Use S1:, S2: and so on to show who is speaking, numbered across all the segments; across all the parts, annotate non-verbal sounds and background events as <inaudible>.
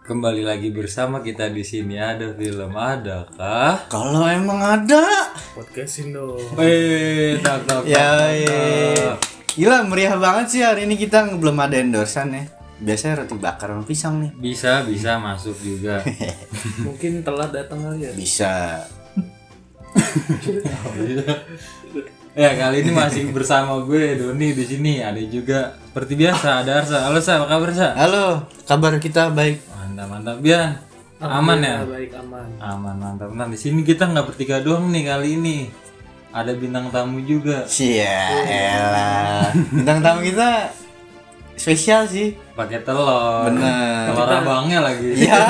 S1: Kembali lagi bersama kita di sini ada film adakah?
S2: Kalau emang ada,
S3: podcastin dong <laughs>
S1: Eh, tak tak.
S2: ya iya. gila meriah banget sih hari ini kita belum ada endorsan ya. Biasanya roti bakar sama pisang nih.
S1: Bisa bisa masuk juga.
S3: mungkin telat datang kali ya
S2: Bisa.
S1: ya kali ini masih bersama gue Doni di sini ada juga seperti biasa ada Arsa. Halo Sa, apa kabar Sa?
S2: Halo, kabar kita baik.
S1: Mantap mantap Bian. Aman ya?
S3: Alhamdulillah, baik aman
S1: Aman mantap. Nah di sini kita nggak bertiga doang nih kali ini. Ada bintang tamu juga.
S2: Sia, Iya, elah. Bintang tamu kita spesial sih.
S1: Pakai telur.
S2: Bener.
S1: Telur abangnya lagi.
S2: Ya.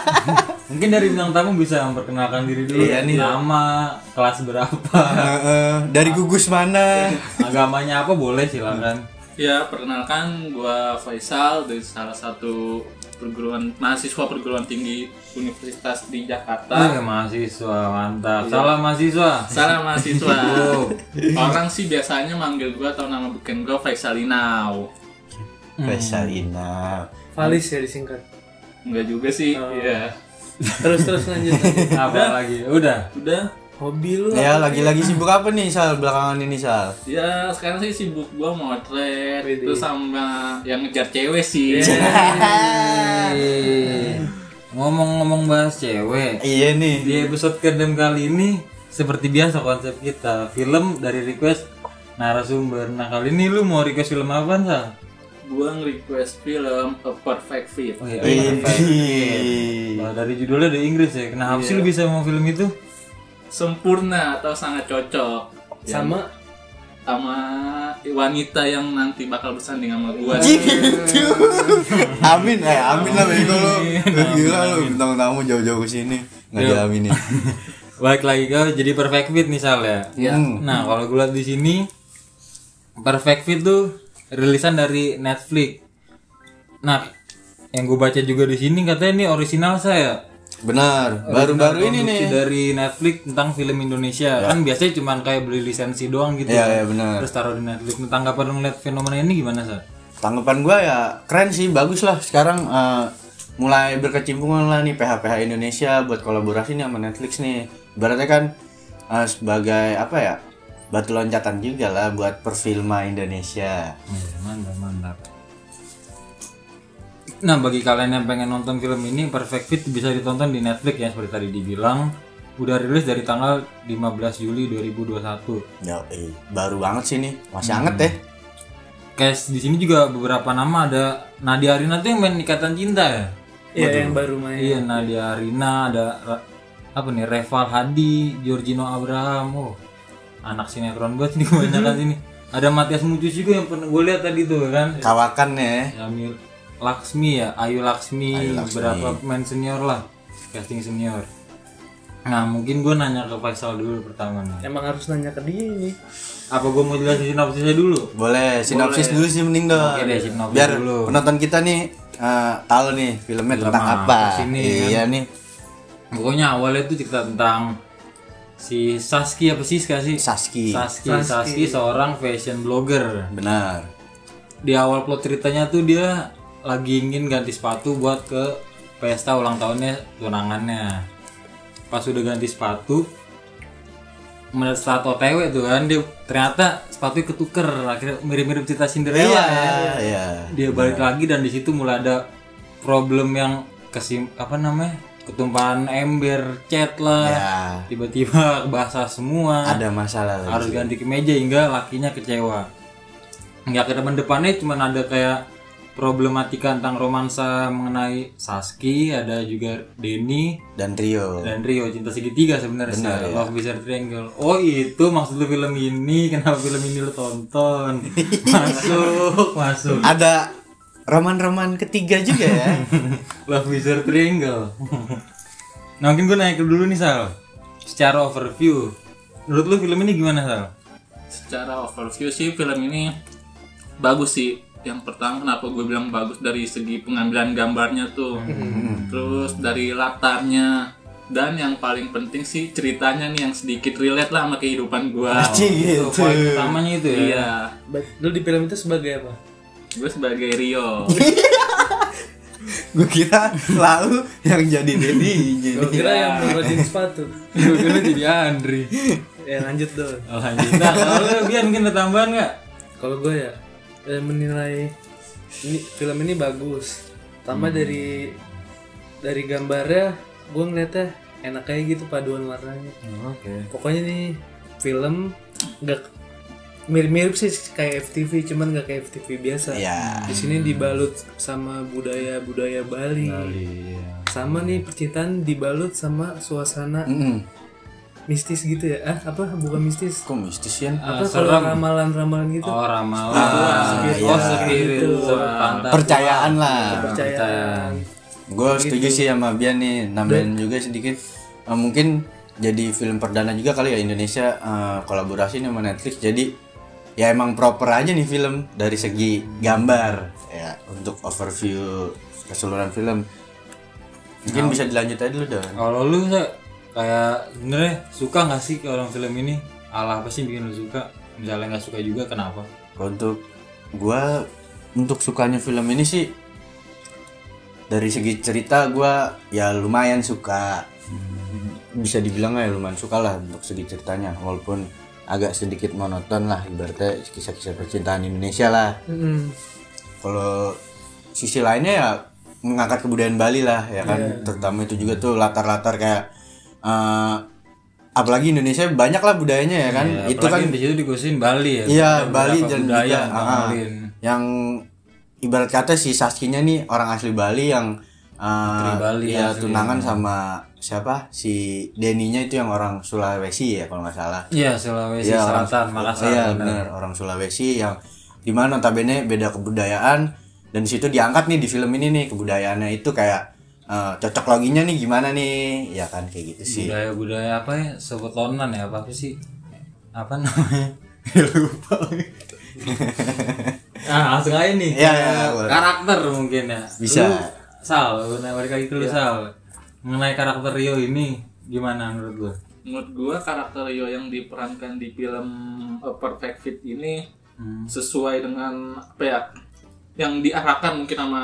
S1: <laughs> Mungkin dari bintang tamu bisa memperkenalkan diri dulu
S2: Iya, nih.
S1: Nama, kelas berapa, <laughs>
S2: Heeh, dari gugus mana?
S1: agamanya apa boleh silakan.
S4: Ya, perkenalkan gua Faisal dari salah satu perguruan mahasiswa perguruan tinggi Universitas di Jakarta.
S1: Ah, mahasiswa
S2: Iya.
S1: mantap. Salam mahasiswa.
S4: Salam mahasiswa. Orang sih biasanya manggil gua atau nama beken gua Faisalinau.
S2: Vesalina.
S3: Valis ya disingkat
S1: <laughs>
S4: Enggak juga sih, iya.
S3: terus terus lanjut, lanjut.
S2: <laughs>
S1: Apa lagi? Udah.
S4: Udah,
S3: hobi lu
S2: Ya, lagi-lagi sibuk apa nih Sal belakangan ini Sal?
S4: ya sekarang sih sibuk gua motret
S3: Widih.
S4: itu sama yang ngejar cewek sih.
S1: Eh, Ngomong-ngomong bahas cewek.
S2: Iya nih.
S1: Di episode ke-6 kali ini seperti biasa konsep kita film dari request narasumber. Nah, kali ini lu mau request film apa, Sa?
S4: <laughs> Gua nge-request film A Perfect Fit.
S1: Oh, iya,
S2: Widih.
S1: Wah, dari judulnya dari Inggris ya. Kenapa sih lu
S2: Iya.
S1: bisa mau film
S2: <laughs>
S1: itu?
S4: Sempurna atau sangat cocok.
S3: sama
S4: sama wanita yang nanti bakal bersanding sama gua.
S2: gitu. amin, eh amin lah bego lu. Lu Gila lu bintang tamu jauh-jauh ke sini. Enggak diaminin.
S1: Baik lagi kau jadi perfect fit nih Sal ya.
S2: Iya. Hmm.
S1: Nah kalau gue lihat di sini perfect fit tuh rilisan dari Netflix. Nah yang gue baca juga di sini katanya ini original saya.
S2: <laughs> Benar, baru-baru Oh, ini nih.
S1: dari Netflix tentang film Indonesia kan biasanya cuman kayak beli lisensi doang gitu.
S2: Ya. Iya,
S1: kan.
S2: iya, benar.
S1: Terus taruh di Netflix. Nah, Tanggapan lu ngeliat fenomena ini gimana Sal?
S2: Tanggapan gua ya keren sih, bagus lah sekarang eh, mulai berkecimpungan lah nih PH-PH Indonesia buat kolaborasi nih sama Netflix nih. Ibaratnya kan eh, sebagai apa ya? Batu loncatan juga lah buat perfilma Indonesia.
S1: Iya, mantap mantap. Nah bagi kalian yang pengen nonton film ini Perfect Fit bisa ditonton di Netflix ya seperti tadi dibilang udah rilis dari tanggal 15 Juli 2021.
S2: Ya, eh, baru banget sih nih, masih anget ya.
S1: Guys di sini juga beberapa nama ada Nadia Arina tuh yang main Ikatan Cinta ya.
S3: ya yang baru main
S1: Iya Nadia Arina ada Ra- apa nih Reval Hadi, Giorgino Abraham, oh anak sinetron banget ini
S3: <laughs>
S1: kebanyakan sini. Ada Matias Mucus juga yang pernah gue lihat tadi tuh kan.
S2: Kawakan ya.
S1: Yamil Laksmi ya, Ayu Laksmi, berapa pemain senior lah, casting senior. Nah mungkin gue nanya ke Faisal dulu pertama nih.
S3: emang harus nanya ke dia ini
S1: Apa gue mau jelasin sinopsisnya dulu?
S2: Boleh, sinopsis dulu sih mending dong.
S1: Oke deh, sinopsis
S2: Biar
S1: dulu.
S2: penonton kita nih eh, tahu nih filmnya tentang
S1: apa,
S2: apa.
S1: sini, kan?
S2: iya nih.
S1: Pokoknya awalnya tuh cerita tentang si Saski apa sih Siska sih?
S2: Saski.
S1: Saski, Saski seorang fashion blogger.
S2: Benar.
S1: Di awal plot ceritanya tuh dia lagi ingin ganti sepatu buat ke pesta ulang tahunnya tunangannya. Pas udah ganti sepatu, menurut saat OTW tuh kan dia ternyata sepatu ketuker akhirnya mirip-mirip cerita Cinderella
S2: Iya,
S1: ya.
S2: iya.
S1: Dia balik lagi dan di situ mulai ada problem yang kesim apa namanya? ketumpahan ember cat lah.
S2: Ya,
S1: Tiba-tiba <laughs> basah semua
S2: ada masalah lagi.
S1: harus ganti kemeja hingga lakinya kecewa hingga ke depan depannya cuma ada kayak problematika tentang romansa mengenai Saski ada juga Denny
S2: Dan Rio.
S1: dan Rio cinta segitiga sebenarnya sih. Love Bizarre Triangle oh itu maksud lu film ini <laughs> kenapa film ini lu tonton masuk masuk
S2: Ada roman-roman ketiga juga
S1: <laughs>
S2: ya.
S1: Love Bizarre Triangle nah mungkin gue naik dulu nih Sal secara overview menurut lu film ini gimana Sal?
S4: Secara overview sih film ini bagus sih. Yang pertama kenapa gue bilang bagus dari segi pengambilan gambarnya tuh. Terus dari latarnya dan yang paling penting sih ceritanya nih yang sedikit relate lah sama kehidupan gua.
S2: Cih,
S1: Itu poin utamanya itu ya
S4: Iya.
S3: Ba- lu di film itu sebagai apa
S4: Gue sebagai Rio.
S2: gue kira lalu yang jadi
S1: <laughs>
S2: dedinya
S3: Gue kira
S1: Iya.
S3: yang ngurusin sepatu. <laughs>
S1: Gue kira jadi Andri.
S3: Ya lanjut dong.
S1: Alhamdulillah. Kalau lu Bian mungkin ada tambahan nggak?
S3: Kalau gue ya eh, menilai ini film ini bagus. Tambah
S1: Hmm.
S3: dari dari gambarnya gue ngeliatnya enak kayak gitu paduan warnanya.
S1: Oke.
S3: Pokoknya nih film gak mirip-mirip sih kayak FTV cuman gak kayak FTV biasa.
S2: ya
S3: Di sini dibalut sama budaya-budaya Bali.
S1: Iya.
S3: Sama nih percintaan dibalut sama suasana
S2: Mm-mm.
S3: mistis gitu ya. Ah, apa bukan mistis?
S2: Hmm, kok mistis ya
S3: Apa kalau ramalan-ramalan gitu?
S1: Oh ramalan. Oh spirit. Mantap.
S2: percayaan lah
S3: percayaan.
S2: gue setuju sih sama Bian nih nambahin juga sedikit Eh, mungkin jadi film perdana juga kali ya Indonesia eh, kolaborasi nih sama Netflix jadi ya emang proper aja nih film dari segi gambar ya untuk overview keseluruhan film mungkin bisa dilanjut aja dulu dong
S1: Kalau lu Sa, kayak sebenernya suka nggak sih kalau film ini? Alah apa sih bikin lu suka? Misalnya nggak suka juga kenapa?
S2: untuk gua untuk sukanya film ini sih dari segi cerita gua ya lumayan suka bisa dibilang ya lumayan suka lah untuk segi ceritanya walaupun agak sedikit monoton lah ibaratnya kisah-kisah percintaan Indonesia lah
S3: Mm-mm.
S2: kalau sisi lainnya ya mengangkat kebudayaan Bali lah ya kan terutama itu juga tuh latar-latar kayak eh, apalagi Indonesia banyak lah budayanya ya kan
S1: Ya,
S2: itu kan
S1: apalagi di situ dikusin Bali ya.
S2: Iya
S1: Ada
S2: Bali
S1: beberapa
S2: dan
S1: budaya
S2: juga
S1: yang
S2: ah,
S1: diambilin.
S2: yang ibarat kata si Saskinya nih orang asli Bali yang
S1: Asli
S2: eh
S1: Bali,
S2: iya,
S1: asli.
S2: tunangan sama siapa si Deninya itu yang orang Sulawesi ya kalau nggak salah.
S1: Iya Sulawesi
S2: Iya, orang-
S1: Selatan Makassar.
S2: Iya
S1: benar.
S2: benar orang Sulawesi yang dimana notabene beda kebudayaan dan di situ diangkat nih di film ini nih kebudayaannya itu kayak eh, cocok loginya nih gimana nih ya kan kayak gitu sih.
S1: budaya budaya apa ya sebetonan ya apa, apa sih apa namanya <laughs> lupa ah langsung aja nih
S2: Iya, iya, iya, boleh.
S1: karakter mungkin ya
S2: Bisa.
S1: Lu, sal lu nah, balik lagi ke lu sal mengenai karakter Rio ini gimana menurut lu
S4: menurut gua karakter Rio yang diperankan di film A Perfect Fit ini sesuai dengan apa ya yang diarahkan mungkin sama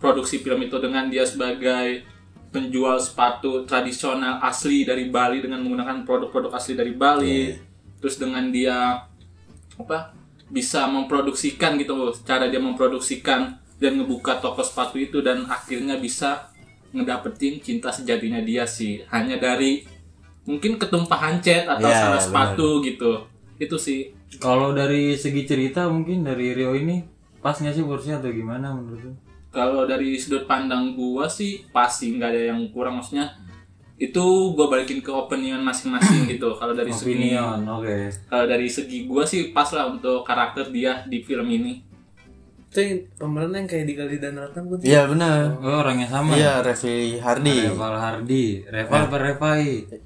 S4: produksi film itu dengan dia sebagai penjual sepatu tradisional asli dari Bali dengan menggunakan produk-produk asli dari Bali terus dengan dia apa bisa memproduksikan gitu loh cara dia memproduksikan dan ngebuka toko sepatu itu dan akhirnya bisa ngedapetin cinta sejatinya dia sih hanya dari mungkin ketumpahan cat atau
S2: Iya,
S4: salah
S2: benar.
S4: sepatu gitu itu sih
S1: kalau dari segi cerita mungkin dari Rio ini pas nggak sih porsinya atau gimana menurut lu
S4: kalau dari sudut pandang gua sih pasti nggak ada yang kurang maksudnya itu gua balikin ke opinion masing-masing gitu kalau dari segi
S1: opinion oke
S4: kalau dari segi gua sih pas lah untuk karakter dia di film ini
S3: Itu yang pemeran yang kayak di Gali dan Ratna gue
S2: Iya benar.
S1: oh orang yang sama
S2: Iya Revi Hardi.
S1: Reval Hardi Reval apa Revai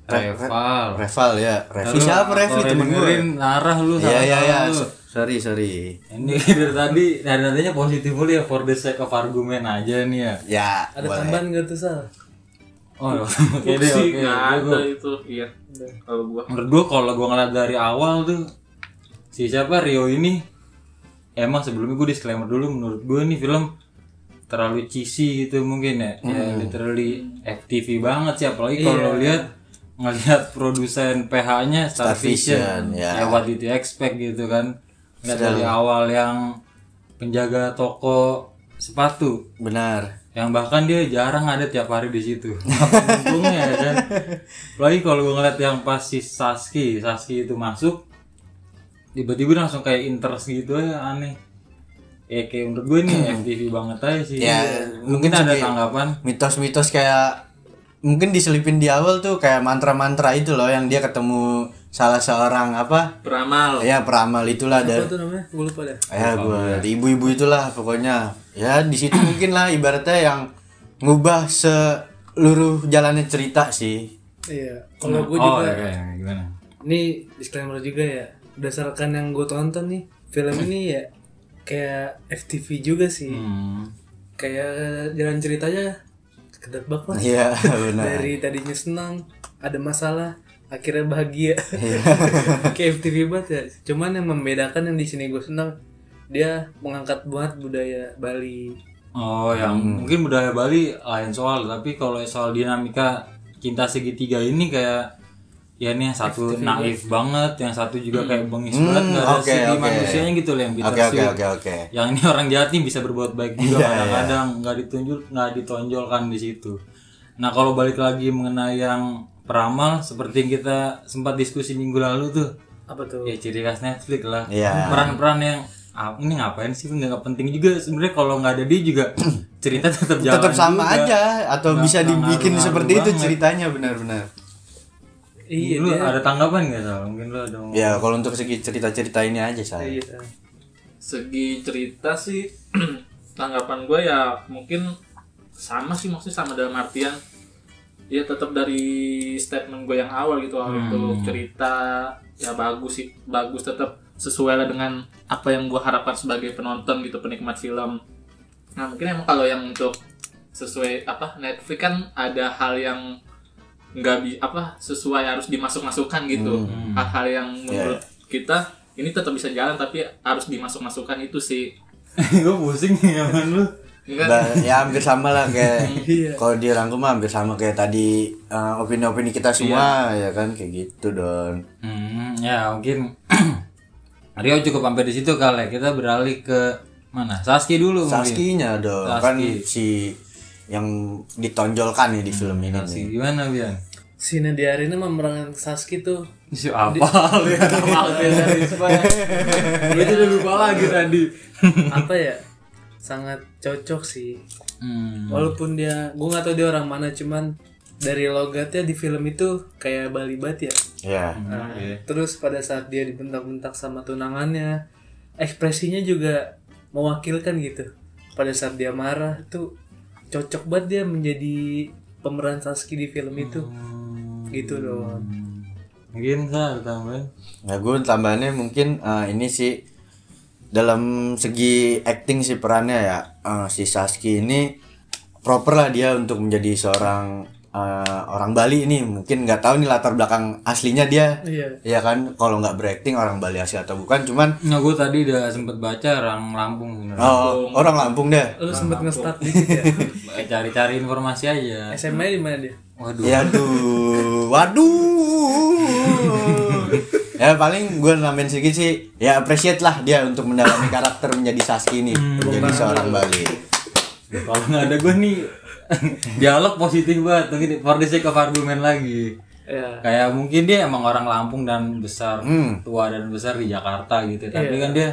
S1: Reval
S2: Reval ya. Revi siapa Revi
S1: Kalau
S2: temen gue?
S1: dengerin arah lu
S2: Iya iya
S1: salah
S2: iya.
S1: lu.
S2: So- Sorry sorry.
S1: Ini <laughs> dari tadi dari tadinya positif dulu ya for the sake of argument aja nih ya.
S2: Ya.
S3: Ada
S2: boleh.
S3: tambahan gak tuh Sal?
S1: Oh, <laughs> oke deh,
S4: sih
S1: oke.
S4: nggak
S1: Gua-
S4: ada
S1: gua-
S4: itu iya kalau gua
S1: Menurut gua kalau gua ngeliat dari awal tuh si siapa Rio ini emang sebelumnya gua disclaimer dulu menurut gua ini film terlalu cheesy gitu mungkin ya. Ya
S2: Hmm.
S1: literally FTV banget sih apalagi kalau lihat ngelihat produsen PH-nya Star,
S2: Star
S1: Vision,
S2: Vision,
S1: ya
S2: ya.
S1: what did you expect gitu kan. Nggak dari awal yang penjaga toko sepatu
S2: Benar.
S1: yang bahkan dia jarang ada tiap hari di situ. <laughs> Apa untungnya ya kan? Lagi kalau gue ngeliat yang pas si Saski, Saski itu masuk, tiba-tiba langsung kayak interest gitu ya aneh. Ya kayak menurut gue
S2: <clears throat>
S1: nih FTV banget aja sih.
S2: Ya,
S1: mungkin
S2: mungkin
S1: Iya, ada
S2: segi-
S1: tanggapan.
S2: Mitos-mitos kayak mungkin diselipin di awal tuh kayak mantra-mantra itu loh yang dia ketemu salah seorang apa?
S4: beramal
S2: Ya peramal itulah
S3: Apa
S2: dan
S3: tuh namanya? Gue lupa deh.
S2: ya gua ibu-ibu itulah pokoknya. Ya di situ mungkin lah ibaratnya yang ngubah seluruh jalannya cerita sih.
S3: Iya. Kalau gue
S1: oh,
S3: juga
S1: ya, ya, gimana?
S3: Ini disclaimer juga ya. Berdasarkan yang gue tonton nih, film ini ya kayak FTV juga sih.
S1: Hmm.
S3: Kayak jalan ceritanya kedebak lah.
S2: Iya <laughs> benar.
S3: Dari tadinya senang, ada masalah, akhirnya bahagia. <laughs> kayak FTV banget ya. Cuman yang membedakan yang di sini gue senang, dia mengangkat banget budaya Bali.
S2: Hmm.
S1: Oh, yang mungkin budaya Bali lain soal, tapi kalau soal dinamika cinta segitiga ini kayak ya ini yang satu naif banget, yang satu juga kayak bengis banget, nggak ada
S2: Hmm. oke,
S1: sisi
S2: oke.
S1: manusianya gitu loh yang
S2: Oke oke
S1: bittersweet.
S2: oke Iya, oke.
S1: Yang ini orang jahat nih bisa berbuat baik juga kadang-kadang, nggak ditunjuk, nggak ditonjolkan di situ. Nah, kalau balik lagi mengenai yang peramal, seperti yang kita sempat diskusi minggu lalu tuh,
S3: apa tuh
S1: ya ciri khas Netflix lah
S2: Iya.
S1: peran-peran yang ah, ini ngapain sih nggak nggak penting juga sebenarnya kalau nggak ada dia
S2: <clears throat>
S1: juga cerita tetap jalan
S2: Tetap sama
S1: juga.
S2: aja atau bisa
S1: nggak
S2: dibikin
S1: ngaruh-ngaruh
S2: seperti itu
S1: banget.
S2: ceritanya benar-benar.
S3: iya
S1: lu
S3: dia
S1: ada tanggapan nggak Sal? mungkin lu ada <laughs> mau-
S2: Ya kalau untuk segi cerita-cerita ini aja saya.
S3: iya.
S4: segi cerita sih <clears throat> tanggapan gue ya mungkin sama sih maksudnya sama dalam artian ya tetap dari statement gue yang awal gitu awal itu cerita ya bagus sih bagus tetap sesuai lah dengan apa yang gue harapkan sebagai penonton gitu penikmat film nah mungkin emang kalau yang untuk sesuai apa Netflix kan ada hal yang nggak bi apa sesuai harus dimasuk-masukkan gitu
S2: Hmm.
S4: hal-hal yang
S2: Ya,
S4: menurut kita ini tetap bisa jalan tapi harus dimasuk-masukkan itu sih
S1: gue pusing nih sama lu
S4: Ya kan?
S2: Ba- ya hampir sama lah
S1: <laughs>
S2: kayak
S1: Iya.
S2: kalau dirangkum mah hampir sama kayak tadi eh, opini-opini kita semua
S1: Iya.
S2: ya kan kayak gitu don.
S1: hmm, ya mungkin <clears throat> Rio cukup sampai di situ kali ya. kita beralih ke mana Saski dulu mungkin
S2: Saskinya dong kan si yang ditonjolkan ya di film ini. nih.
S1: Saski gimana Bian
S3: si Nadia Arina memerankan Saski tuh
S1: si apa gue udah lupa lagi tadi
S3: apa ya sangat cocok sih
S1: hmm.
S3: walaupun dia gue nggak tahu dia orang mana cuman dari logatnya di film itu kayak Bali banget ya
S2: Ya.
S3: Nah, terus pada saat dia dibentak-bentak sama tunangannya ekspresinya juga mewakilkan gitu pada saat dia marah tuh cocok banget dia menjadi pemeran Saski di film itu gitu loh
S1: mungkin Sal tambahin
S2: Nah, gue tambahannya mungkin eh, ini sih dalam segi acting si perannya ya eh, si Saski ini proper lah dia untuk menjadi seorang eh, orang Bali ini mungkin nggak tahu nih latar belakang aslinya dia
S3: Iya.
S2: ya kan kalau nggak berakting orang Bali asli atau bukan cuman
S1: Nah, gue tadi udah sempet baca orang Lampung sebenarnya.
S2: oh, orang Lampung deh
S3: lu sempet nge-start dikit ya
S1: Cari-cari informasi aja.
S3: SMA di mana dia
S1: Waduh.
S2: ya tuh waduh ya paling gue nambahin sedikit sih ya appreciate lah dia untuk mendalami karakter menjadi Saski ini menjadi seorang Bali
S1: Kalau nggak ada gue nih <laughs> dialog positif banget. Mungkin for the sake of argument lagi.
S3: ya
S1: Kayak mungkin dia emang orang Lampung dan besar, tua dan besar di Jakarta gitu. Tapi kan dia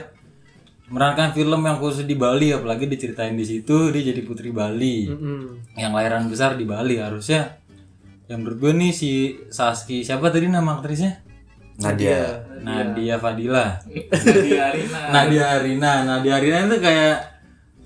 S1: merankan film yang khusus di Bali, apalagi diceritain di situ dia jadi putri Bali.
S3: hmm.
S1: Yang lahiran besar di Bali harusnya. Yang menurut gue nih si Saski siapa tadi nama aktrisnya?
S2: Nadia.
S1: Nadia Fadila.
S4: Nadia Arina
S1: Iya. Nadia Arina. Nadia Arina itu kayak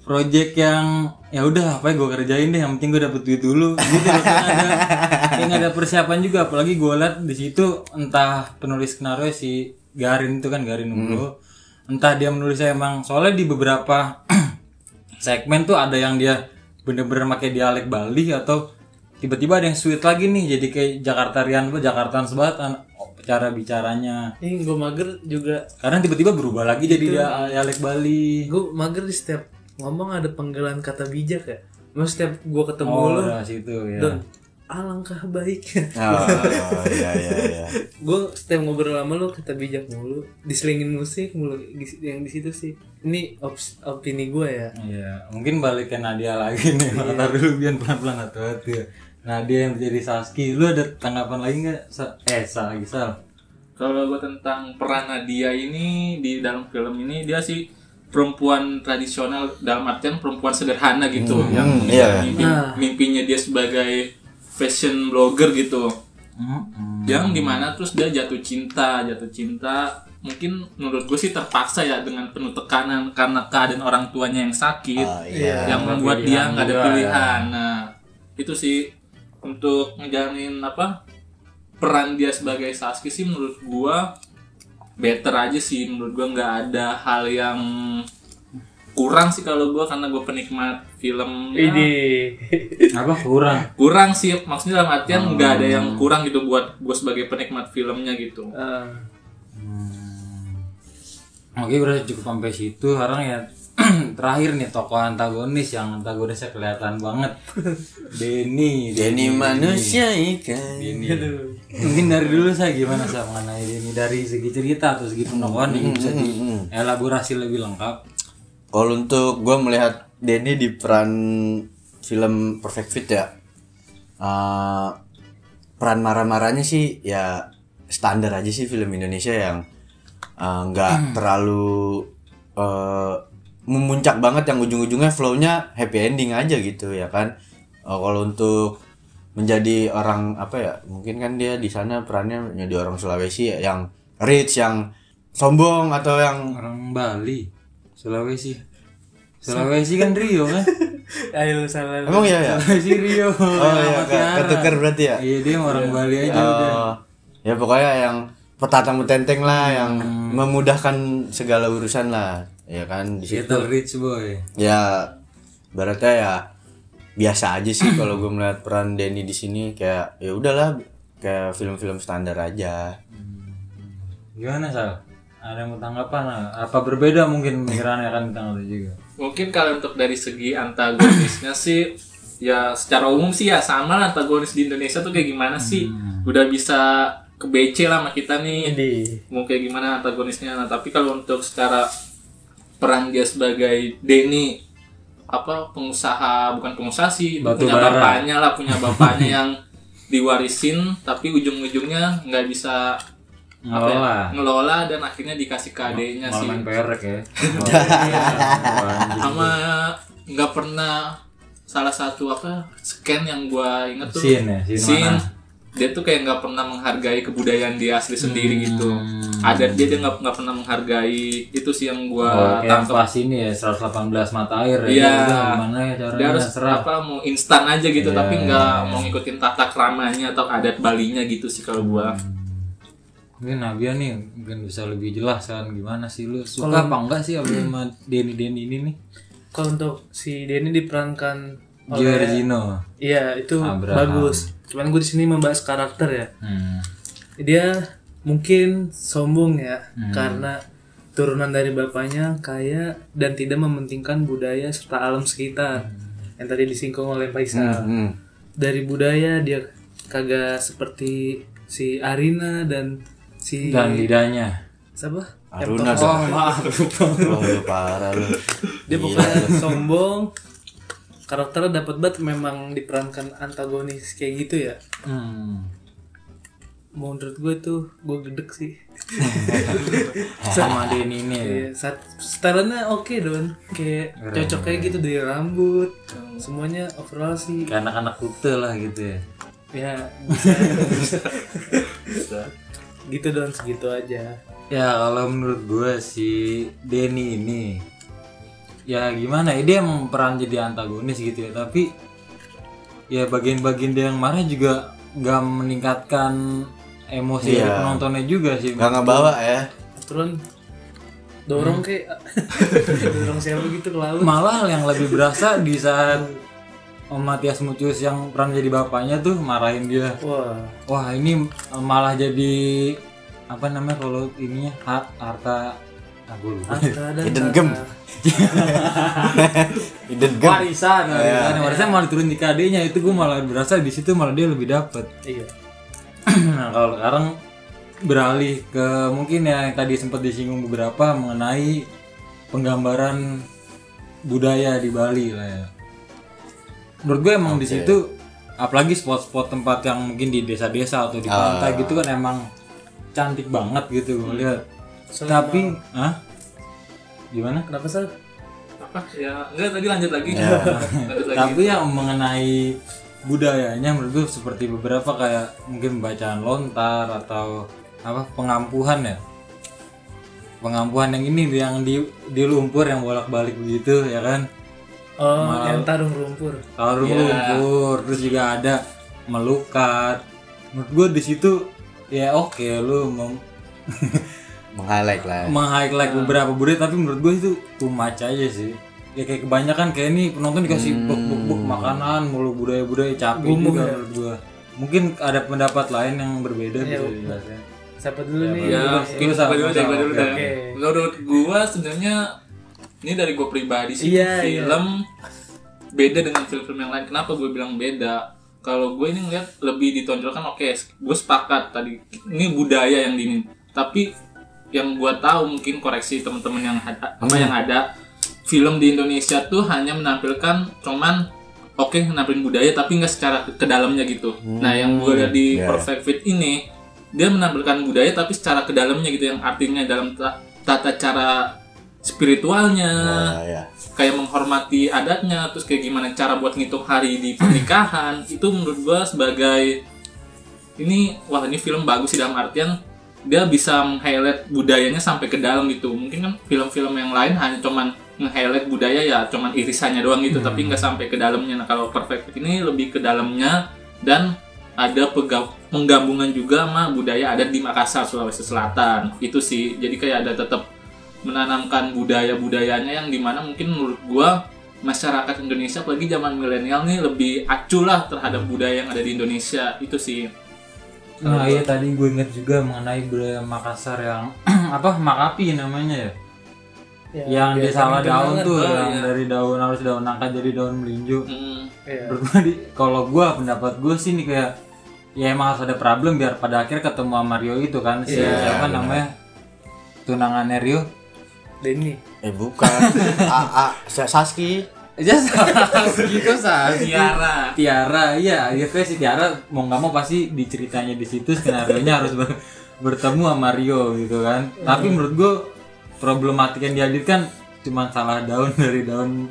S1: project yang ya udah apa ya gue kerjain deh yang penting gue dapet duit dulu gitu loh kan ada yang ada persiapan juga apalagi gue liat di situ entah penulis skenario si Garin itu kan Garin Nugroho entah dia menulisnya emang soalnya di beberapa <clears throat> segmen tuh ada yang dia bener-bener pakai dialek Bali atau tiba-tiba ada yang sweet lagi nih jadi kayak Jakartarian apa Jakartaan sebat cara bicaranya
S3: ini gue mager juga
S1: karena tiba-tiba berubah lagi jadi dia dialek Bali.
S3: gue mager di setiap ngomong ada penggalan kata bijak ya Maksudnya setiap gue ketemu lu
S1: Nah, situ ya.
S3: Don, alangkah baiknya
S2: Oh, iya iya iya.
S3: gue setiap ngobrol sama lu kata bijak mulu diselingin musik mulu Di- yang di situ sih ini ops- opini gue ya
S1: Iya, mungkin balik ke Nadia lagi nih. Ntar dulu biar pelan-pelan atau hati ya. Nadia yang menjadi Saski, lu ada tanggapan lagi nggak? Sa- eh, Sa lagi Sal.
S4: kalau gue tentang peran Nadia ini di dalam film ini dia sih perempuan tradisional dalam artian perempuan sederhana gitu yang
S2: iya.
S4: mimpi- mimpinya dia sebagai fashion blogger gitu
S1: Ya.
S4: yang
S2: Hmm.
S4: dimana terus dia jatuh cinta jatuh cinta mungkin menurut gue sih terpaksa ya dengan penuh tekanan karena keadaan orang tuanya yang sakit
S2: Ah,
S4: yang membuat dia Iya, nggak ada pilihan nah itu sih untuk ngejalanin apa peran dia sebagai Sasuke sih menurut gua better aja sih menurut gua nggak ada hal yang kurang sih kalau gua karena gua penikmat film ya,
S1: Apa kurang?
S4: kurang sih maksudnya dalam artian nggak ada yang kurang gitu buat gua sebagai penikmat filmnya gitu <laughs>
S3: Eh,
S1: Oke, udah cukup sampai situ. Sekarang ya <clears throat> terakhir nih tokoh antagonis yang antagonisnya kelihatan banget Denny
S2: Denny manusia ikan
S1: Denny mungkin dari dulu saya gimana sama mengenai Denny dari segi cerita atau segi penokohan mungkin bisa dielaborasi lebih lengkap
S2: Kalau untuk gue melihat Denny di peran film Perfect Fit ya, eh, peran marah-marahnya sih ya standar aja sih film Indonesia yang eh, nggak terlalu eh, memuncak banget yang ujung-ujungnya flow-nya happy ending aja gitu ya kan. Eh, Kalau untuk menjadi orang apa ya mungkin kan dia di sana perannya menjadi orang Sulawesi ya, yang rich yang sombong atau yang
S1: orang Bali Sulawesi Sulawesi kan Rio <laughs> kan
S3: Ayo salah.
S2: emang ya ya
S1: Sulawesi Rio
S2: Oh iya, ke- ketukar berarti ya.
S1: iya dia mau orang Bali aja udah Hmm.
S2: Oh, ya pokoknya yang petatang petenteng lah yang memudahkan segala urusan lah. Ya kan di situ.
S1: Little Rich Boy
S2: Ya baratnya ya biasa aja sih kalau gue melihat peran Denny di sini kayak ya udahlah kayak film-film standar aja.
S1: Gimana Sal? Ada yang mau tanggapan? Apa berbeda mungkin pikirannya kan tentang itu juga?
S4: Mungkin kalau untuk dari segi antagonisnya sih ya secara umum sih ya sama lah antagonis di Indonesia tuh kayak gimana sih.
S1: Hmm.
S4: Udah bisa ke BC lah sama kita nih. Mau kayak gimana antagonisnya. Nah, tapi kalau untuk secara peran dia sebagai Denny apa pengusaha bukan pengusaha sih
S1: Batu
S4: punya
S1: bara.
S4: bapaknya lah
S1: <laughs>
S4: punya bapaknya yang diwarisin tapi ujung-ujungnya nggak bisa apa ya,
S1: Ngelola.
S4: ngelola dan akhirnya dikasih ke adeknya
S1: Malah
S4: sih
S1: main perek
S4: <laughs>
S1: ya.
S4: sama nggak pernah salah satu apa scan yang gua inget tuh
S1: Scene ya, scene mana?
S4: dia tuh kayak nggak pernah menghargai kebudayaan dia asli
S1: Hmm.
S4: sendiri gitu adat dia dia nggak nggak pernah menghargai itu sih yang gua
S1: Oke, yang
S4: tangkap
S1: pas ini ya 118 mata air ya.
S4: Iya.
S1: Udah, Gimana ya
S4: dia
S1: caranya
S4: harus
S1: serap.
S4: apa mau instan aja gitu
S1: Iya,
S4: tapi
S1: iya,
S4: nggak mau ngikutin tata keramanya atau adat Balinya gitu sih kalau gua
S1: Hmm. Mungkin Nabia nih mungkin bisa lebih jelas kan gimana sih lu suka apa enggak sih sama Denny-Denny ini nih?
S3: Kalau untuk si Denny diperankan oleh
S1: Giorgino.
S3: Iya, itu
S1: Abraham.
S3: bagus. Cuman gue di sini membahas karakter ya.
S1: Hmm.
S3: Dia mungkin sombong ya karena turunan dari bapaknya kaya dan tidak mementingkan budaya serta alam sekitar. Yang tadi disinggung oleh Faisal.
S2: Hmm.
S3: Dari budaya dia kagak seperti si Arina dan si
S1: Dan lidahnya.
S3: siapa?
S1: Oh,
S2: Aruna dong.
S1: maaf.
S2: Wah, lu parah lu.
S3: dia pokoknya sombong karakternya dapat banget memang diperankan antagonis kayak gitu ya
S1: Hmm.
S3: menurut gue tuh gue gedek sih
S1: <laughs> Sama Denny ini. ya.
S3: Iya, saat stylenya oke don kayak cocok kayak gitu dari rambut semuanya overall sih
S1: Kayak anak-anak kute lah gitu ya.
S3: ya bisa <laughs> gitu don segitu aja
S1: Ya kalau menurut gue si Denny ini ya gimana ya dia emang peran jadi antagonis gitu ya tapi ya bagian-bagian dia yang marah juga nggak meningkatkan emosi dari
S2: Iya.
S1: penontonnya juga sih
S2: Gak ngebawa ya.
S3: turun dorong kayak <laughs> dorong siapa gitu ke laut
S1: malah yang lebih berasa di saat Om Matias Mucus yang peran jadi bapaknya tuh marahin dia
S3: wah
S1: wah ini malah jadi apa namanya kalau ininya har- harta ah, gua lupa.
S3: ada
S2: Hidden gem. Hidden gem.
S1: warisan
S3: Iya.
S1: warisan warisan Kan malah turun di KD-nya itu gue malah berasa di situ malah dia lebih dapet
S3: iya
S1: <clears throat> nah kalau sekarang beralih ke mungkin ya yang tadi sempat disinggung beberapa mengenai penggambaran budaya di Bali lah ya menurut gue emang di situ apalagi spot-spot tempat yang mungkin di desa-desa atau di pantai gitu kan emang cantik banget gitu gue lihat tapi ah gimana
S3: kenapa sih
S4: apa ya enggak tadi lanjut lagi
S1: Ya.
S4: <laughs> lanjut lagi
S1: Tapi yang mengenai budayanya menurut gue seperti beberapa kayak mungkin bacaan lontar atau apa pengampuhan ya. Pengampuhan yang ini yang di di lumpur yang bolak-balik begitu ya kan.
S3: oh yang tarung rumpur
S1: Taruh lumpur, terus juga ada melukat. Menurut gue di situ ya oke lu mem- <laughs>
S2: Meng-highlight lah.
S1: meng-highlight beberapa budaya tapi menurut gue itu too much aja sih. Ya kayak kebanyakan kayak ini penonton dikasih buk-buk-buk makanan mulu budaya-budaya capek juga menurut gue. Mungkin ada pendapat lain yang berbeda
S3: Iya,
S1: gitu jelasnya.
S3: siapa dulu nih
S4: Ya, mungkin
S1: Lu sama-
S4: gua dulu deh,
S1: sama,
S4: gua dulu
S1: oke,
S4: deh. Menurut gua sebenarnya ini dari gue pribadi sih
S3: Iya, iya.
S4: film beda dengan film-film yang lain kenapa gue bilang beda kalau gue ini ngeliat lebih ditonjolkan oke gue sepakat tadi ini budaya yang dini tapi yang gue tahu mungkin koreksi teman-teman yang ada apa yang ada film di Indonesia tuh hanya menampilkan cuman oke menampilkan budaya tapi nggak secara ke ke dalamnya gitu nah yang gue lihat di
S2: iya.
S4: Perfect Fit ini dia menampilkan budaya tapi secara ke dalamnya gitu yang artinya dalam ta- tata cara spiritualnya
S1: Hmm.
S2: Nah, ya.
S4: kayak menghormati adatnya terus kayak gimana cara buat ngitung hari di pernikahan itu menurut gua sebagai ini wah ini film bagus sih dalam artian dia bisa meng-highlight budayanya sampai ke dalam gitu mungkin kan film-film yang lain hanya cuman nge-highlight budaya ya cuman irisannya doang gitu tapi nggak sampai ke dalamnya nah kalau perfect Fit ini lebih ke dalamnya dan ada pega- penggabungan juga sama budaya adat di Makassar Sulawesi Selatan itu sih jadi kayak ada tetap menanamkan budaya-budayanya yang dimana mungkin menurut gua masyarakat Indonesia apalagi zaman milenial nih lebih acuh lah terhadap budaya yang ada di Indonesia itu sih
S1: Nah iya tadi gue inget juga mengenai budaya Makassar yang <clears throat> apa Makapi namanya ya.
S3: Ya,
S1: yang di
S3: biasa
S1: salah
S3: gitu
S1: daun
S3: banget.
S1: tuh
S4: Oh,
S1: yang
S4: iya.
S1: dari daun harus daun nangka jadi daun melinjo.
S4: Hmm,
S3: Iya.
S1: Menurut gue di- kalau gue pendapat gue sih nih kayak ya emang harus ada problem biar pada akhir ketemu sama Rio itu kan si siapa namanya tunangannya Rio.
S3: Denny
S2: Eh
S1: <laughs>
S2: bukan. A, A, Saski.
S1: Ya gitu saat
S4: Tiara
S1: Tiara, iya akhirnya si Tiara mau nggak mau pasti di ceritanya di situ skenario nya harus ber- bertemu sama Rio gitu kan. Tapi menurut gue problematik yang dihadirkan cuma salah daun dari daun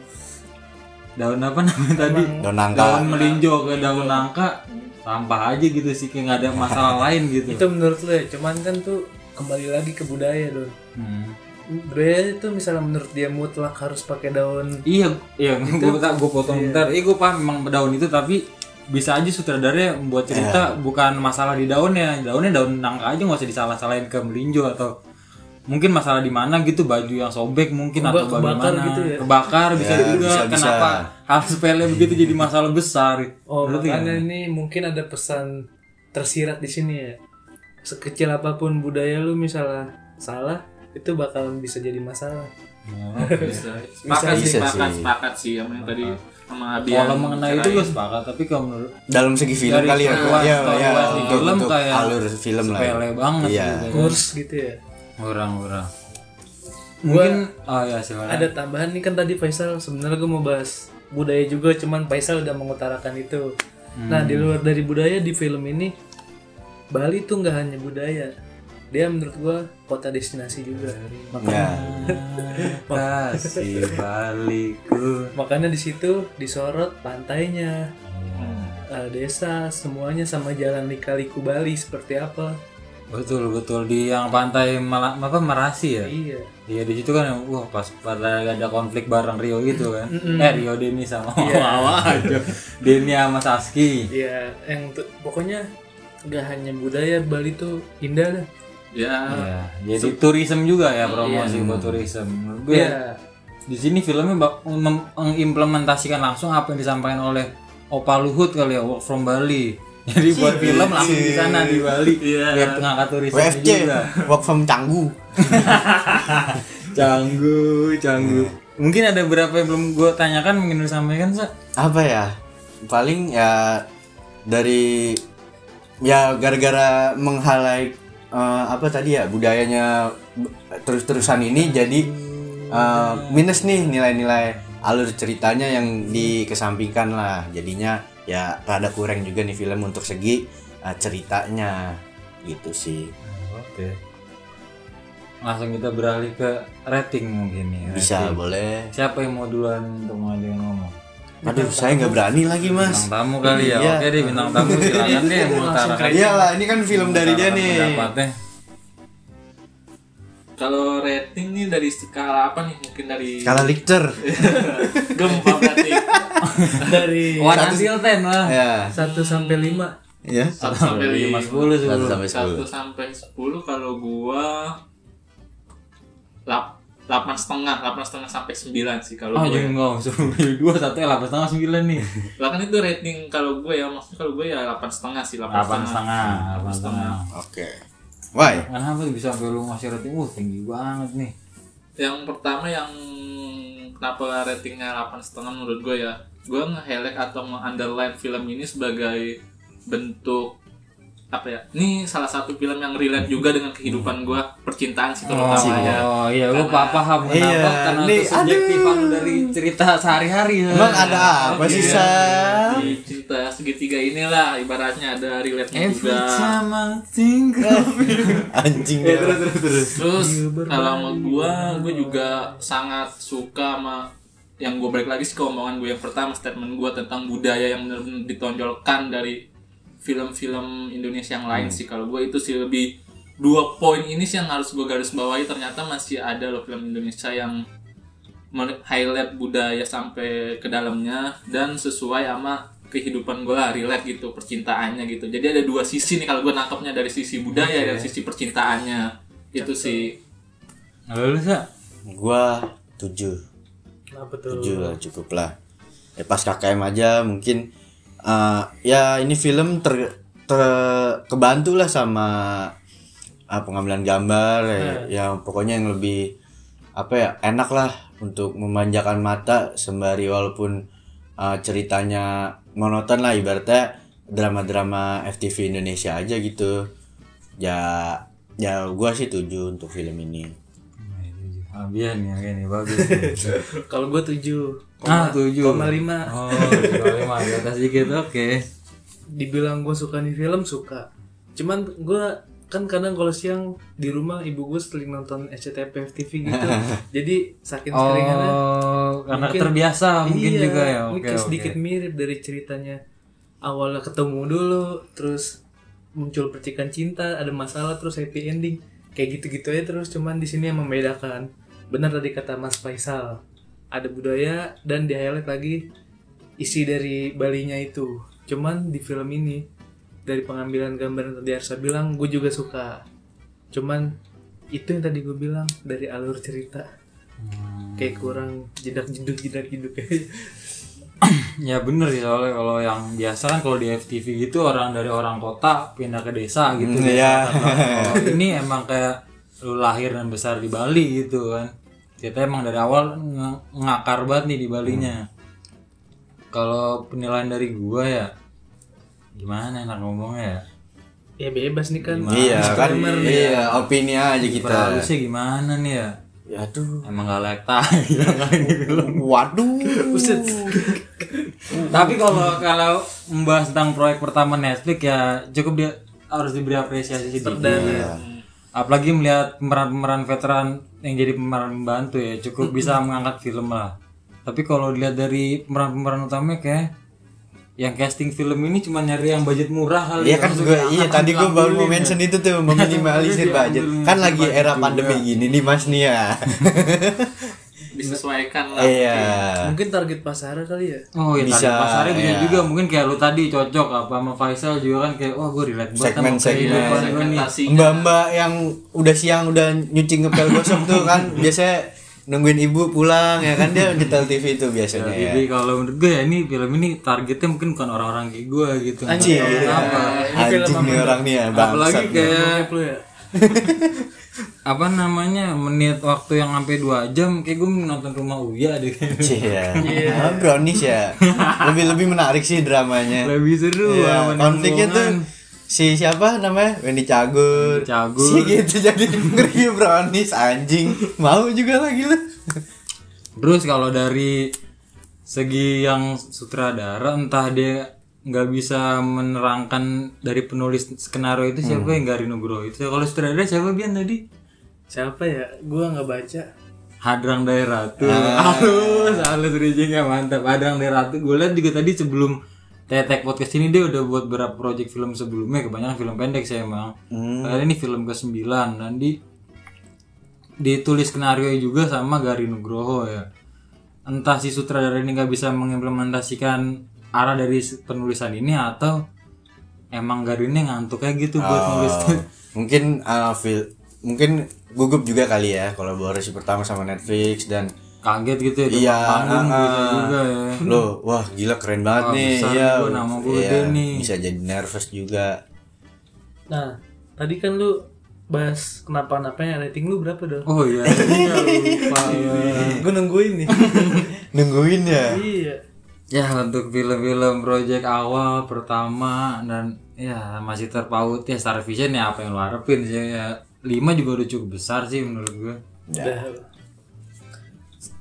S1: daun apa namanya tadi
S2: Daun nangka.
S1: daun melinjo ke daun nangka sampah aja gitu sih kayak nggak ada <laughs> masalah lain gitu.
S3: itu menurut lo ya cuman kan tuh kembali lagi ke budaya dong
S1: Hmm.
S3: budaya itu misalnya menurut dia mutlak harus pakai daun
S1: Iya, iya, gue gue potong bentar. Iya, gue paham memang daun itu, tapi bisa aja sutradaranya membuat cerita bukan masalah di daunnya, daunnya daun nangka aja nggak usah disalah-salahin ke melinjo atau mungkin masalah di mana gitu baju yang sobek mungkin atau
S3: Keba- kebakar
S1: bagaimana
S3: gitu ya?
S1: kebakar bisa
S2: Ya,
S1: juga
S2: bisa, bisa.
S1: kenapa hal sepele begitu jadi masalah besar
S3: oh
S1: Menurut lu
S3: makanya
S1: gimana?
S3: ini mungkin ada pesan tersirat di sini ya sekecil apapun budaya lu misalnya salah itu bakalan bisa jadi masalah
S4: bisa sepakat
S2: Bisa
S4: sih sepakat
S2: sih.
S4: sepakat sih sama yang tadi sama Abi
S1: kalau
S4: yang
S1: mengenai itu
S4: bicarain.
S1: gue sepakat tapi kalau menurut
S2: Dalam segi film
S1: Dari
S2: kali ya.
S1: keluar-
S2: Iya,
S1: keluar
S2: iya.
S1: dari
S2: Untuk,
S1: film
S2: untuk
S1: kayak
S2: alur film lah.
S1: sepele banget
S2: Iya.
S1: gitu ya.
S3: kurs gitu ya
S1: orang-orang mungkin oh ya
S3: <laughs>
S1: silakan
S3: ada tambahan nih kan tadi Faisal sebenarnya gue mau bahas budaya juga cuman Faisal udah mengutarakan itu nah
S1: Hmm.
S3: di luar dari budaya di film ini Bali tuh nggak hanya budaya dia menurut gua kota destinasi juga
S2: Ya.
S1: Kasih balikku
S3: makanya di situ disorot pantainya eh, desa semuanya sama jalan lika-liku Bali seperti apa
S1: Betul betul di yang pantai Mala- apa Merasi ya.
S3: iya
S1: Iya di situ kan wah pas pada ada konflik bareng Rio gitu kan. Eh Rio Denny sama Wawa <laughs> aja. Denny sama Saski.
S3: iya yang tu- pokoknya nggak hanya budaya Bali tuh indah dah
S4: ya
S1: Ya, jadi tourism juga ya promosi buat tourism. Menurut gue
S3: Iya.
S1: di sini filmnya bak- mem- mengimplementasikan langsung apa yang disampaikan oleh Opa Luhut kali ya Work from Bali. <laughs> Jadi buat film langsung di sana di Bali.
S4: Iya.
S1: Biar pengangkat tourism
S2: WFC.
S1: juga.
S2: Work from Canggu.
S1: Canggu, canggu. Mungkin ada berapa yang belum gue tanyakan mungkin udah sampaikan sa.
S2: apa ya paling ya dari ya gara-gara menghalai eh, apa tadi ya budayanya b- terus-terusan ini jadi eh, minus nih nilai-nilai alur ceritanya yang dikesampingkan lah jadinya ya rada kurang juga nih film untuk segi eh, ceritanya gitu sih
S1: Oke. Langsung kita beralih ke rating mungkin nih.
S2: bisa
S1: rating.
S2: boleh
S1: Siapa yang mau duluan untuk ngajuin ngomong?
S2: aduh saya nggak berani lagi
S1: Bintang
S2: mas
S1: tamu kali ya.
S2: Iya.
S1: Oke deh bintang
S2: <laughs>
S1: tamu silakan deh yang mau utarakan.
S2: iyalah ini kan film dari dia
S1: utarakan
S2: nih
S1: pendapatnya.
S4: kalau rating nih dari skala apa nih mungkin dari
S2: skala Richter
S4: <laughs> gempa berarti
S2: Iya.
S1: <laughs>
S3: dari
S1: One until ten lah.
S2: ya
S3: 1 sampai 5
S2: ya
S4: 1 sampai
S1: Lima
S4: 5
S1: sepuluh
S2: satu
S1: sepuluh.
S2: sampai sepuluh
S4: 1 sampai 10 kalau gua lap, 8 setengah, 8 setengah sampai 9 sih kalau
S1: Oh
S4: gua. ya.
S1: jangan ngomong sepuluh dua satu ya delapan setengah sembilan nih.
S4: Lah kan itu rating kalau gue ya, maksudnya kalau gue ya 8 setengah sih, 8,
S1: Delapan
S4: setengah.
S1: setengah, delapan setengah. Kan
S2: Oke. Why?
S1: Kenapa bisa sampai lu ngasih rating? Uh tinggi banget nih.
S4: Yang pertama yang kenapa ratingnya 8,5 menurut gue ya gue nge-highlight atau nge-underline film ini sebagai bentuk apa ya ini salah satu film yang relate juga dengan kehidupan gue percintaan sih terutama ya
S1: Oh iya, lu pa- paham kenapa?
S2: Iya,
S1: Karena
S2: nih,
S1: itu subjektifan dari cerita sehari-hari. ya.
S2: Emang ada apa sih,
S4: Iya,
S2: Sam?
S4: di cerita segitiga inilah ibaratnya ada relate-nya
S1: Every
S4: juga
S1: time I think
S2: <laughs>
S1: of you.
S2: Anjing dia. Eh, terus terus.
S4: terus kalau sama gue gue juga sangat suka sama yang gue balik lagi sih ke omongan gue yang pertama statement gue tentang budaya yang benar-benar ditonjolkan dari film-film Indonesia yang lain sih kalau gue itu sih lebih dua poin ini sih yang harus gue garis bawahi ternyata masih ada loh film Indonesia yang men- highlight budaya sampai ke dalamnya dan sesuai sama kehidupan gue lah relate gitu percintaannya gitu jadi ada dua sisi nih kalau gue nangkepnya dari sisi budaya dan sisi percintaannya itu sih
S1: Lalu sih.
S2: Gua tujuh,
S1: Nah,
S3: Kenapa tuh?
S2: tujuh lah cukup lah. Ya pas KKM aja mungkin eh, ya ini film ter, ter- kebantu lah sama ah, pengambilan gambar ya, ya pokoknya yang lebih apa ya enak lah untuk memanjakan mata sembari walaupun eh, ceritanya monoton lah ibaratnya drama-drama FTV Indonesia aja gitu ya ya gua sih tujuh untuk film ini
S1: Abian ya ini bagus. nih.
S2: <laughs>
S3: Kalau gue tujuh.
S1: Ah, tujuh.
S3: Koma lima.
S1: Oh, koma lima di atas dikit. Oke.
S3: Dibilang gue suka nih film suka. Cuman gue kan kadang kalau siang di rumah ibu gue sering nonton SCTV TV <laughs> gitu. Jadi saking seringannya
S1: Oh, karena terbiasa mungkin
S3: iya,
S1: juga ya. Oke,
S3: mungkin
S1: oke.
S3: sedikit mirip dari ceritanya awalnya ketemu dulu terus muncul percikan cinta ada masalah terus happy ending kayak gitu-gitu aja terus cuman di sini yang membedakan benar tadi kata Mas Faisal ada budaya dan di highlight lagi isi dari balinya itu cuman di film ini dari pengambilan gambar yang tadi Arsa bilang gue juga suka cuman itu yang tadi gue bilang dari alur cerita kayak kurang jedak jeduk jedak jeduk <laughs> kayak
S1: <clears throat> Ya bener sih soalnya kalau yang biasa kan kalau di FTV gitu orang dari orang kota pindah ke desa gitu.
S2: Hmm,
S1: biasa <laughs>
S2: iya.
S1: kata. Kalau ini emang kayak lu lahir dan besar di Bali gitu kan. Kita emang dari awal ng- ngakar banget nih di Balinya. Kalau penilaian dari gua ya gimana enak ngomongnya ya?
S3: ya bebas nih kan
S2: Iya kan,
S3: Disclaimer nih. ya.
S2: iya opini aja kita.
S1: Berhalusnya gimana nih ya?
S2: Aduh,
S1: Emang gak layak <laughs> tahi yang ini belum.
S2: waduh.
S1: Tapi kalau kalau membahas tentang proyek pertama Netflix ya cukup dia harus diberi apresiasi sedikit.
S2: ya.
S1: Iya. Apalagi melihat pemeran-pemeran veteran yang jadi pemeran pembantu ya cukup bisa mengangkat film lah. Tapi kalau dilihat dari pemeran-pemeran utamanya kayak yang casting film ini cuma nyari yang budget murah kali. ya.
S2: Iya kan gue, iya tadi gue baru mau mention itu tuh meminimalisir budget. Kan lagi era pandemi gini nih Mas nih <laughs> ya.
S4: disesuaikan lah
S2: Iya.
S3: mungkin target pasar kali ya
S1: Oh iya,
S2: Bisa,
S1: bisa, pasarnya bisa
S2: iya.
S1: juga mungkin kayak lu tadi cocok apa sama Faisal juga kan kayak wah gue relate banget sama
S2: Segmen-segmen.
S1: kehidupan gue nih.
S4: segmentasinya
S2: Mbak-mbak yang udah siang udah nyuci ngepel gosok tuh <laughs> kan biasanya nungguin ibu pulang ya kan dia nyetel TV itu biasanya ya.
S1: Jadi kalau menurut gue ya ini film ini targetnya mungkin bukan orang-orang kayak gue gitu.
S2: Anjing,
S1: Nggak tahu kenapa.
S2: Iya. anjing nih orang nih ya,
S1: Apalagi
S2: bangsat.
S1: kayak
S3: Lu ya
S1: <laughs> apa namanya menit waktu yang sampai 2 jam kayak gue nonton rumah Uya deh.
S2: Iya. Ah, brownies <laughs> ya. Lebih lebih menarik sih dramanya.
S1: <laughs> Lebih seru sama
S2: Iya, konfliknya tuh
S1: nembongan.
S2: si siapa namanya Wendy
S1: kan.
S2: Cagur.
S1: Wendy Cagur.
S2: Si gitu jadi ngeri brownies anjing. Mau juga lagi lu.
S1: Terus kalau dari segi yang sutradara entah dia nggak bisa menerangkan dari penulis skenario itu siapa
S2: Hmm.
S1: yang Gari Nugroho itu. Kalau sutradara siapa Bian tadi?
S3: siapa ya gua nggak baca
S1: Hadrang Daeratu Halus, halus bridgingnya mantap Hadrang Daeratu Gue liat juga tadi sebelum Tetek Podcast ini dia udah buat berapa project film sebelumnya Kebanyakan film pendek sih emang Kali ini film ke 9 Dan di Ditulis skenario juga sama Gari Nugroho ya Entah si sutradara ini nggak bisa mengimplementasikan Arah dari s- penulisan ini atau Emang Gari ini ngantuk kayak gitu
S2: Ah.
S1: buat nulis
S2: Oh, mungkin uh, feel- mungkin gugup juga kali ya kolaborasi pertama sama Netflix dan
S1: Kaget gitu ya
S2: Iya,
S1: depan panggung
S2: ah,
S1: bisa
S2: ah.
S1: juga ya
S2: Loh, wah gila keren banget
S1: Wah,
S2: nih.
S1: besar
S2: Iya,
S1: gua, nama gua
S2: iya,
S1: gede nih.
S2: Bisa jadi nervous juga.
S3: nah tadi kan lu bahas kenapa kenapanya rating lu berapa dong?
S1: Oh iya, iya lupa.
S3: Gue Eh, nungguin nih.
S2: Nungguin ya.
S3: <laughs> iya.
S1: ya untuk film-film project awal pertama dan ya masih terpaut ya Star Vision ya apa yang lo harapin sih ya. 5 juga udah cukup besar sih menurut gue.
S3: Dah.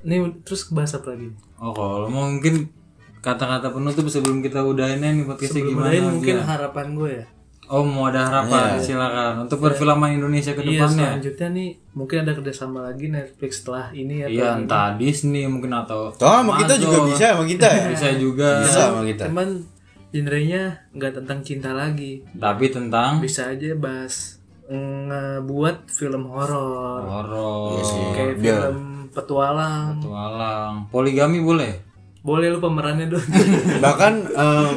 S3: Ini terus bahas apa lagi?
S1: Oh kalau mau mungkin kata-kata penutup sebelum kita udahin nih podcastnya gimana?
S3: Kemarin mungkin harapan gue ya.
S1: Oh mau ada harapan silakan untuk perfilman Indonesia ke
S3: Iya
S1: depannya.
S3: selanjutnya nih mungkin ada kerjasama lagi Netflix setelah ini ya.
S1: Iya entah Disney mungkin atau
S2: Toh sama kita juga bisa sama kita ya.
S1: bisa juga
S2: Bisa sama kita.
S3: Cuman genrenya nggak tentang cinta lagi.
S1: tapi tentang
S3: Bisa aja bahas mm, ngebuat film horor
S1: horor,
S2: Iya,
S3: kayak film petualang.
S1: tualang, poligami boleh.
S3: Boleh lu pemerannya
S2: <laughs>
S3: dong.
S2: Bahkan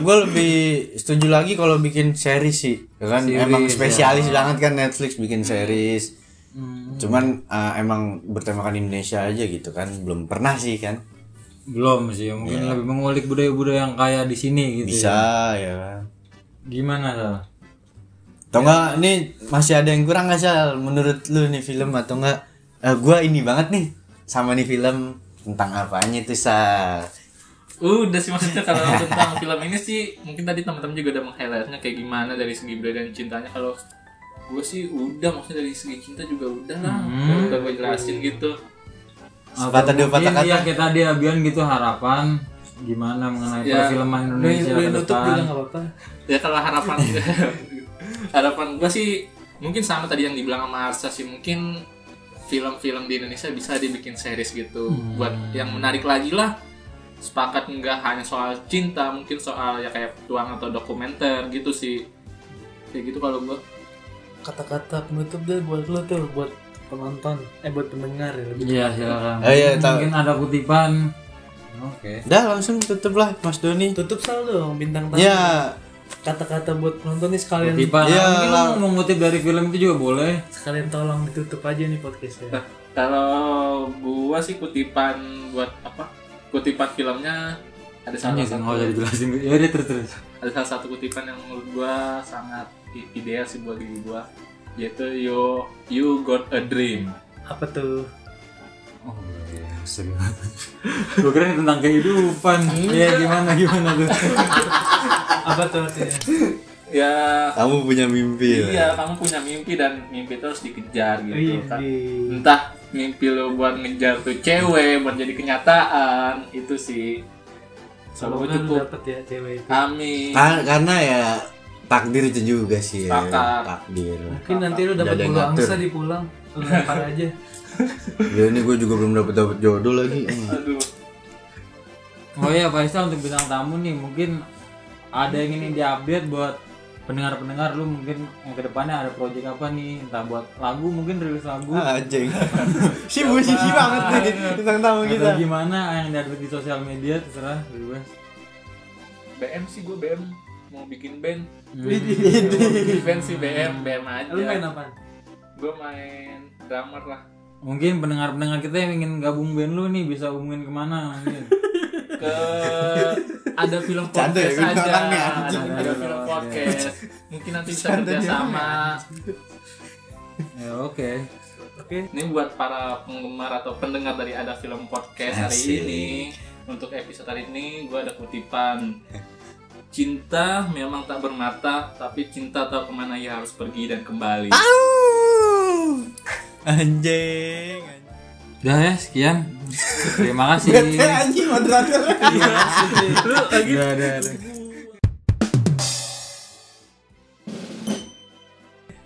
S2: gue lebih setuju lagi kalau bikin series sih. Ya kan emang spesialis banget kan Netflix bikin series. Cuman eh, emang bertemakan Indonesia aja gitu kan. Belum pernah sih kan.
S1: Belum sih, mungkin lebih mengulik budaya-budaya yang kaya di sini gitu.
S2: Iya. Bisa ya kan.
S1: Gimana Sal?
S2: Atau enggak ini masih ada yang kurang nggak Sal? Menurut lu nih film atau enggak? Eh, gua ini banget nih sama nih film tentang apanya tuh Sal?
S4: Udah sih maksudnya kalau <laughs> tentang film ini sih mungkin tadi teman-teman juga udah meng-highlightnya kayak gimana dari segi budaya dan cintanya kalau gue sih udah maksudnya dari segi cinta juga udah lah udah gue jelasin gitu
S2: Sepatah dua patah
S1: Mungkin iya kayak tadi Abian gitu harapan gimana mengenai perfilman Indonesia
S3: Lu
S1: ke
S3: nutup
S1: depan.
S2: Ah.
S3: juga nggak apa-apa.
S4: ya kalau <laughs> harapan harapan gue sih mungkin sama tadi yang dibilang sama Arsa sih mungkin film-film di Indonesia bisa dibikin series gitu buat yang menarik lagi lah sepakat nggak hanya soal cinta mungkin soal ya kayak tuang atau dokumenter gitu sih kayak gitu kalau gue
S3: Kata-kata penutup deh buat lu tuh buat penonton eh buat pendengar ya lebih.
S1: Iya silakan.
S2: Oh, iya, tahu.
S1: mungkin ada kutipan. Oke.
S2: Udah langsung tutup lah Mas Doni.
S3: Tutup sal dong bintang tamu.
S2: Ya,
S3: Kata-kata buat penonton nih sekalian
S1: Kutipan.
S2: Iya,
S1: Ah, mungkin mau mengutip dari film itu juga boleh.
S3: sekalian tolong ditutup aja nih ya.
S2: <laughs>
S3: podcastnya.
S4: Nah, Kalau gua sih kutipan buat apa? Kutipan filmnya ada salah
S1: Tanya sih
S4: satu
S1: nggak usah dijelasin. Ya udah terus terus.
S4: ada salah satu kutipan yang menurut gua sangat i- ideal sih buat diri gua yaitu you you got a dream.
S3: Apa tuh?
S1: Oh iya, <laughs> serius. Gue kira ini tentang kehidupan. Iya gimana gimana <laughs> tuh.
S3: Apa tuh artinya?
S2: <laughs>
S4: Ya
S2: kamu punya mimpi. lah.
S4: iya kamu punya mimpi dan mimpi itu harus dikejar
S3: Iya,
S4: gitu kan.
S3: Widih.
S4: Entah mimpi lo buat ngejar tuh cewek buat jadi kenyataan itu sih. Selalu
S3: Semoga lu
S4: cukup.
S3: dapet ya cewek itu.
S4: Amin.
S2: Kar- karena ya takdir itu juga sih. ya.
S4: Sepakat.
S2: Takdir.
S3: Mungkin nanti lu
S2: Udah
S3: dapat
S2: ada yang
S3: bulu
S2: ngatur.
S3: angsa di pulang.
S2: <laughs>
S3: Lu lempar aja.
S2: Ya ini gue juga belum dapat dapat jodoh lagi.
S4: Aduh.
S1: Oh iya Faisal untuk bintang tamu nih mungkin ada yang ingin diupdate buat pendengar-pendengar lu mungkin yang kedepannya ada project apa nih entah buat lagu mungkin rilis lagu
S2: <laughs> <laughs> Anjing. Sibuk sibuk banget nih tentang tamu
S1: atau
S2: kita.
S1: gimana yang diupdate di sosial media terserah bebas.
S4: BM sih gue BM mau bikin band. Mau bikin band sih BM, BM aja.
S2: Iya.
S3: Lu main apa?
S4: Gue main drummer lah.
S1: Mungkin pendengar-pendengar kita yang ingin gabung band lu nih bisa hubungin kemana mungkin.
S4: Ke ada film
S2: Canda ya,
S4: podcast
S2: gua
S4: aja.
S2: nolaknya,
S4: Ada,
S2: anjing.
S4: ada film podcast. Mungkin nanti bisa kerja sama.
S1: ya oke.
S3: Oke.
S4: Ini buat para penggemar atau pendengar dari ada film podcast hari
S2: Asik.
S4: ini. Untuk episode hari ini gue ada kutipan. Cinta memang tak bermata, tapi cinta tahu kemana ia harus pergi dan kembali.
S2: Anjing.
S1: Udah ya sekian. Terima kasih.
S2: Anjing <laughs> moderator.
S1: Udah, udah, udah.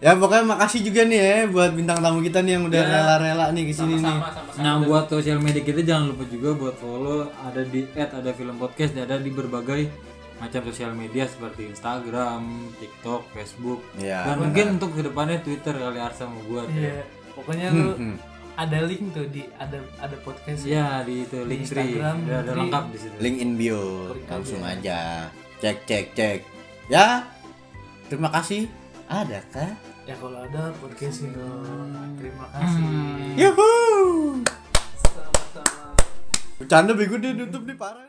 S2: Ya pokoknya makasih juga nih ya buat bintang tamu kita nih yang udah rela-rela nih ke sini nih.
S4: Sama sama sama.
S1: Nah buat sosial media kita jangan lupa juga buat follow ada di at ada film podcast dan ada di berbagai macam sosial media seperti Instagram, TikTok, Facebook
S2: Iya,
S1: dan mungkin untuk kedepannya Twitter kali Arsa mau buat ya.
S3: Iya. Pokoknya lu
S2: Hmm,
S3: ada link tuh di ada ada podcast
S1: Ya
S2: Iya,
S1: di itu link tree
S3: Instagram,
S1: udah ada
S3: Linktree.
S1: lengkap di situ.
S2: Link in bio langsung aja. Cek cek cek. Ya. Terima kasih. Adakah?
S3: Ya kalau ada podcast itu. Terima kasih.
S2: Yuhuu. Bercanda bego dia nutup di parah.